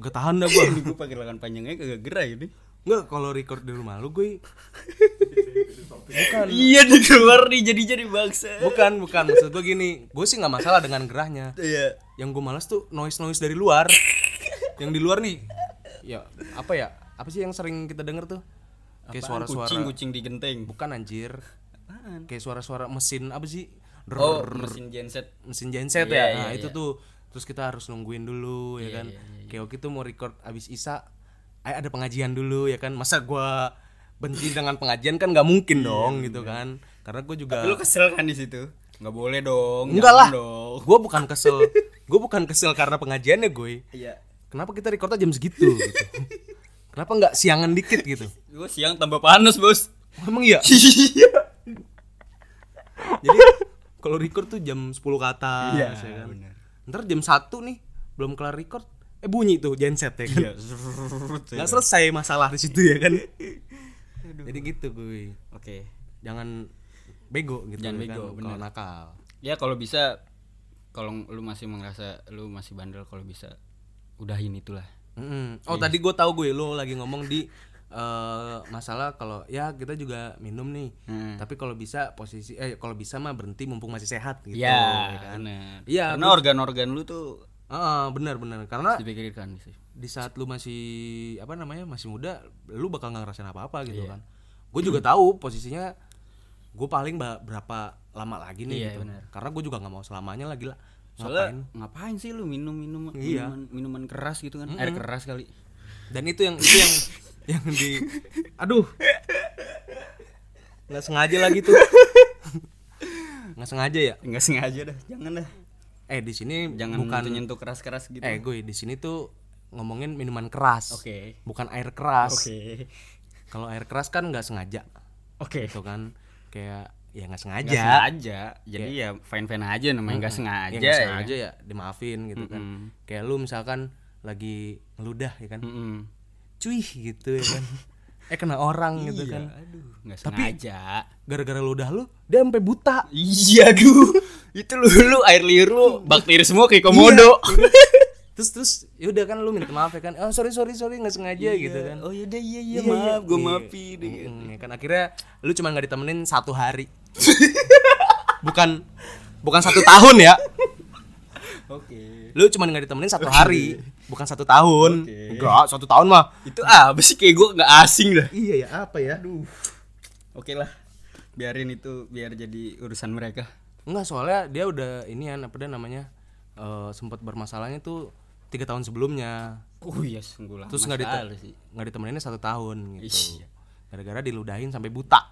Speaker 1: gak tahan dah gue
Speaker 2: Ini gue pakai lengan panjangnya kagak gerah ini.
Speaker 1: nggak kalau record di rumah lu gue
Speaker 2: Iya di keluar nih jadi jadi bangsa.
Speaker 1: bukan bukan maksud gue gini gue sih nggak masalah dengan gerahnya
Speaker 2: Iya.
Speaker 1: yang gue malas tuh noise noise dari luar yang di luar nih ya apa ya apa sih yang sering kita denger tuh kayak
Speaker 2: Apaan? kucing
Speaker 1: suara-suara
Speaker 2: kucing di genteng.
Speaker 1: bukan anjir
Speaker 2: Apaan?
Speaker 1: kayak suara-suara mesin apa sih Drrrr,
Speaker 2: Oh mesin genset.
Speaker 1: mesin genset
Speaker 2: Iya,
Speaker 1: ya
Speaker 2: iya,
Speaker 1: nah, itu
Speaker 2: iya.
Speaker 1: tuh terus kita harus nungguin dulu ya kan kayak waktu itu mau record abis isa eh, ada pengajian dulu ya kan masa gua benci dengan pengajian kan nggak
Speaker 2: Iya,
Speaker 1: mungkin dong gitu kan karena gue juga
Speaker 2: Lu kesel kan di situ? Nggak boleh dong.
Speaker 1: enggak
Speaker 2: jangan
Speaker 1: lah
Speaker 2: Dong.
Speaker 1: gue bukan kesel gue bukan kesel karena pengajiannya gue
Speaker 2: Iya. <laughs>
Speaker 1: kenapa kita recordnya jam segitu gitu. Kenapa nggak siangan dikit gitu?
Speaker 2: Gue siang tambah panas bos.
Speaker 1: Emang
Speaker 2: <laughs>
Speaker 1: iya.
Speaker 2: Iya.
Speaker 1: Jadi kalau record tuh jam 10 ke atas
Speaker 2: Iya,
Speaker 1: ya kan.
Speaker 2: bener.
Speaker 1: Ntar jam 1 nih belum kelar record, eh bunyi tuh genset ya
Speaker 2: Iya.
Speaker 1: kan. Nggak selesai masalah di situ ya kan. Jadi gitu gue.
Speaker 2: Oke.
Speaker 1: Jangan bego gitu
Speaker 2: Jangan
Speaker 1: ya kan,
Speaker 2: bego,
Speaker 1: kalau
Speaker 2: bener.
Speaker 1: nakal.
Speaker 2: Ya kalau bisa kalau lu masih merasa lu masih bandel kalau bisa udahin itulah.
Speaker 1: Mm-mm.
Speaker 2: Iya.
Speaker 1: Oh tadi gue tahu gue lo lagi ngomong di eh, masalah kalau ya kita juga minum nih.
Speaker 2: Hmm.
Speaker 1: Tapi kalau bisa posisi eh kalau bisa mah berhenti mumpung masih sehat gitu.
Speaker 2: Iya,
Speaker 1: kan?
Speaker 2: bener.
Speaker 1: Iya,
Speaker 2: Karena organ-organ lu tuh
Speaker 1: Heeh, benar-benar karena
Speaker 2: harus dipikirkan sih.
Speaker 1: di saat lu masih apa namanya masih muda lu bakal nggak ngerasain apa-apa gitu
Speaker 2: Iya.
Speaker 1: kan gue juga tahu posisinya gue paling ba- berapa lama lagi nih
Speaker 2: Iya,
Speaker 1: gitu
Speaker 2: bener.
Speaker 1: karena gue juga nggak mau selamanya lagi lah
Speaker 2: Soalnya ngapain, sih lu minum minum
Speaker 1: Iya.
Speaker 2: minuman, minuman keras gitu kan? Air keras kali.
Speaker 1: dan itu yang itu yang <laughs> yang di aduh nggak sengaja lagi
Speaker 2: <laughs>
Speaker 1: tuh nggak sengaja ya
Speaker 2: Enggak sengaja dah, jangan dah.
Speaker 1: eh di sini
Speaker 2: Jangan
Speaker 1: bukan
Speaker 2: nyentuh keras-keras gitu.
Speaker 1: eh gue di sini tuh ngomongin minuman keras
Speaker 2: Oke.
Speaker 1: bukan air keras
Speaker 2: Oke.
Speaker 1: kalau air keras kan nggak sengaja
Speaker 2: Oke.
Speaker 1: gitu kan kayak ya nggak
Speaker 2: Nggak
Speaker 1: sengaja
Speaker 2: sengaja. Jadi ya fine-fine aja namanya enggak sengaja.
Speaker 1: ya
Speaker 2: ya
Speaker 1: nggak
Speaker 2: kan?
Speaker 1: sengaja ya dimaafin gitu kan kayak lu misalkan lagi ngeludah ya kan
Speaker 2: Mm-mm.
Speaker 1: cuy gitu ya kan <laughs> eh kena orang gitu
Speaker 2: Iya.
Speaker 1: kan
Speaker 2: Aduh, enggak sengaja.
Speaker 1: gara-gara ludah lu dia sampai
Speaker 2: <laughs>
Speaker 1: buta
Speaker 2: Iya gue Itu lu, lu air liur lu bakteri semua kayak komodo
Speaker 1: terus terus yaudah kan lu minta maaf ya kan oh sorry sorry sorry nggak sengaja gitu kan
Speaker 2: Oh yaudah iya iya maaf gue
Speaker 1: Iya.
Speaker 2: maafin
Speaker 1: Mm-mm, ya kan akhirnya lu cuma nggak ditemenin satu
Speaker 2: <laughs>
Speaker 1: hari bukan bukan satu tahun ya
Speaker 2: Oke
Speaker 1: lu cuma nggak ditemenin satu hari bukan satu tahun
Speaker 2: Oke.
Speaker 1: enggak satu tahun mah
Speaker 2: Itu apa sih kayak gue gak asing dah
Speaker 1: iya ya apa ya aduh
Speaker 2: Oke lah Biarin itu biar jadi urusan mereka
Speaker 1: Enggak soalnya dia udah ini ya apa dia namanya eh sempat bermasalahnya tuh tiga tahun sebelumnya
Speaker 2: Oh iya sungguh lama
Speaker 1: terus nggak
Speaker 2: sekali
Speaker 1: dite- nggak ditemeninnya satu tahun gitu
Speaker 2: Iya.
Speaker 1: gara-gara diludahin sampai buta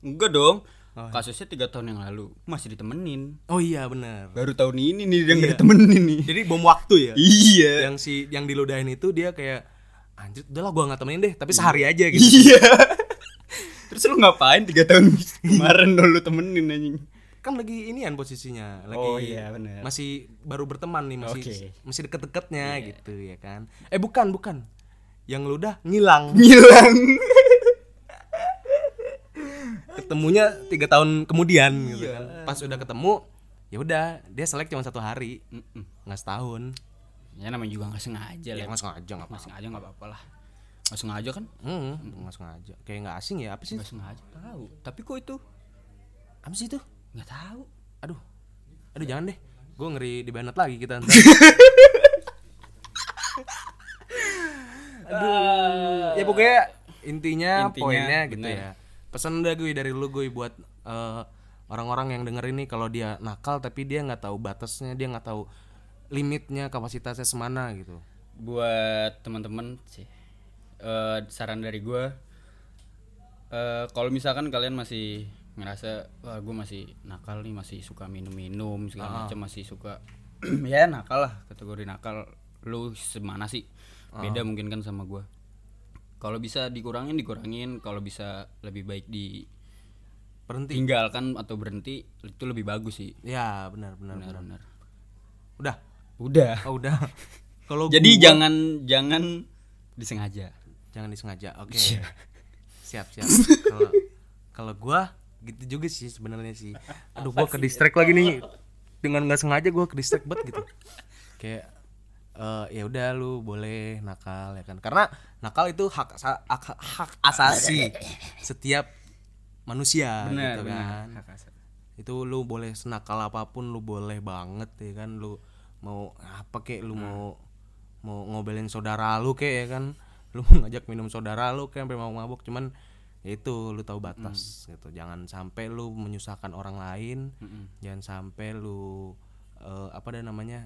Speaker 2: Enggak dong Kasusnya tiga tahun yang lalu Masih ditemenin
Speaker 1: oh iya bener
Speaker 2: Baru tahun ini nih dia nggak ditemenin nih
Speaker 1: jadi bom waktu ya
Speaker 2: Iya
Speaker 1: yang si yang diludahin itu dia kayak anjir udahlah gua nggak temenin deh tapi sehari aja gitu
Speaker 2: Iya Terus lu ngapain tiga tahun kemarin dulu temenin anjing
Speaker 1: kan lagi inian posisinya lagi
Speaker 2: Oh, iya, bener.
Speaker 1: masih baru berteman nih masih
Speaker 2: Oke. Iya.
Speaker 1: masih deket-deketnya gitu ya kan eh bukan bukan yang ludah
Speaker 2: <laughs>
Speaker 1: ngilang
Speaker 2: Ngilang
Speaker 1: ketemunya tiga tahun kemudian gitu
Speaker 2: Iya.
Speaker 1: kan pas udah ketemu ya udah dia selek cuma satu hari nggak setahun
Speaker 2: Ya namanya juga nggak sengaja
Speaker 1: ya
Speaker 2: lah.
Speaker 1: nggak sengaja nggak
Speaker 2: Nggak sengaja nggak apa-apa lah. Nggak sengaja kan?
Speaker 1: hmm, nggak sengaja kayak nggak asing ya apa sih
Speaker 2: Nggak sengaja tahu. Tapi kok itu
Speaker 1: apa sih itu
Speaker 2: nggak tahu.
Speaker 1: aduh aduh jangan deh gue ngeri di banet lagi kita ntar. aduh ya pokoknya intinya,
Speaker 2: Intinya,
Speaker 1: poinnya gitu
Speaker 2: bener.
Speaker 1: ya pesan udah gue dari lu gue buat eh, orang-orang yang denger ini kalau dia nakal tapi dia nggak tahu batasnya dia nggak tahu limitnya kapasitasnya semana gitu
Speaker 2: Buat teman-teman sih. eh, saran dari gua eh, kalau misalkan kalian masih ngerasa wah gue masih nakal nih masih suka minum-minum
Speaker 1: Ah.
Speaker 2: segala macam masih suka <clears throat> ya nakal lah kategori nakal lu semana sih
Speaker 1: Ah.
Speaker 2: beda mungkin kan sama gua kalau bisa dikurangin dikurangin kalau bisa lebih baik di
Speaker 1: berhenti
Speaker 2: tinggalkan atau berhenti itu lebih bagus sih
Speaker 1: ya benar benar benar.
Speaker 2: benar-benar
Speaker 1: udah
Speaker 2: udah
Speaker 1: oh, udah kalau
Speaker 2: jadi
Speaker 1: gua-
Speaker 2: jangan jangan disengaja
Speaker 1: jangan disengaja oke siap siap kalau kalau gua gitu juga sih sebenarnya sih aduh gua ke distract lagi nih dengan nggak sengaja gua ke distract banget gitu kayak eh ya udah lu boleh nakal ya kan karena nakal itu hak asa- hak, hak asasi setiap manusia gitu kan itu lu boleh senakal apapun lu boleh banget ya kan lu mau apa kek lu mau mau ngobelin saudara lu kek ya kan <laughs> lu mau ngajak minum saudara lu kek sampai mau mabuk cuman ya itu lu tahu batas gitu jangan sampai lu menyusahkan orang lain jangan sampai lu eh, apa dan namanya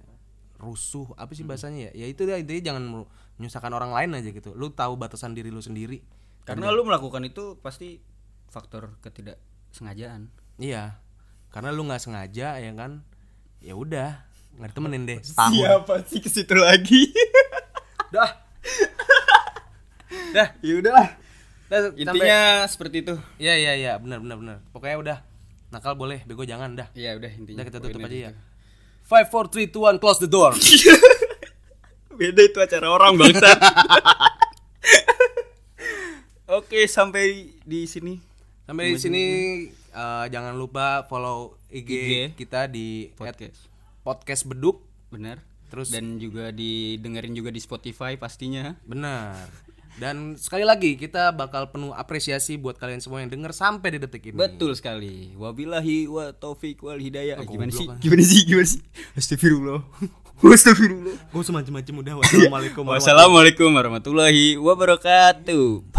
Speaker 1: rusuh apa sih bahasanya ya ya itu dia intinya jangan meru- menyusahkan orang lain aja gitu lu tahu batasan diri lu sendiri
Speaker 2: karena lu melakukan itu pasti faktor ketidaksengajaan
Speaker 1: Iya, karena lu nggak sengaja ya kan? Ya udah, nggak ditemenin deh setahun.
Speaker 2: siapa sih ke situ lagi
Speaker 1: Dah,
Speaker 2: <laughs> Dah,
Speaker 1: ya udahlah Dah, sampai-
Speaker 2: intinya seperti itu.
Speaker 1: ya ya ya benar benar benar pokoknya udah nakal boleh bego jangan dah
Speaker 2: Iya, udah intinya.
Speaker 1: udah kita tutup
Speaker 2: Pokoknya gitu.
Speaker 1: aja ya five four three two one close the
Speaker 2: <laughs>
Speaker 1: door
Speaker 2: Beda itu acara orang bangsa. <laughs> Oke, sampai di sini.
Speaker 1: sampai di sini eh, jangan lupa follow IG,
Speaker 2: IG.
Speaker 1: kita di
Speaker 2: Podcast.
Speaker 1: podcast beduk
Speaker 2: Benar.
Speaker 1: Terus- Iya.
Speaker 2: dan juga didengerin juga di Spotify pastinya.
Speaker 1: benar dan sekali lagi kita bakal penuh apresiasi buat kalian semua yang denger sampai di detik ini
Speaker 2: Betul sekali. Wabillahi wa taufiq wal hidayah. Eh, gimana
Speaker 1: goblok
Speaker 2: sih? Gimana sih? Gimana sih? Astagfirullah. Astagfirullah. <laughs>
Speaker 1: gue semacam macam udah wassalamualaikum warahmatullahi
Speaker 2: Wassalamualaikum warahmatullahi wabarakatuh.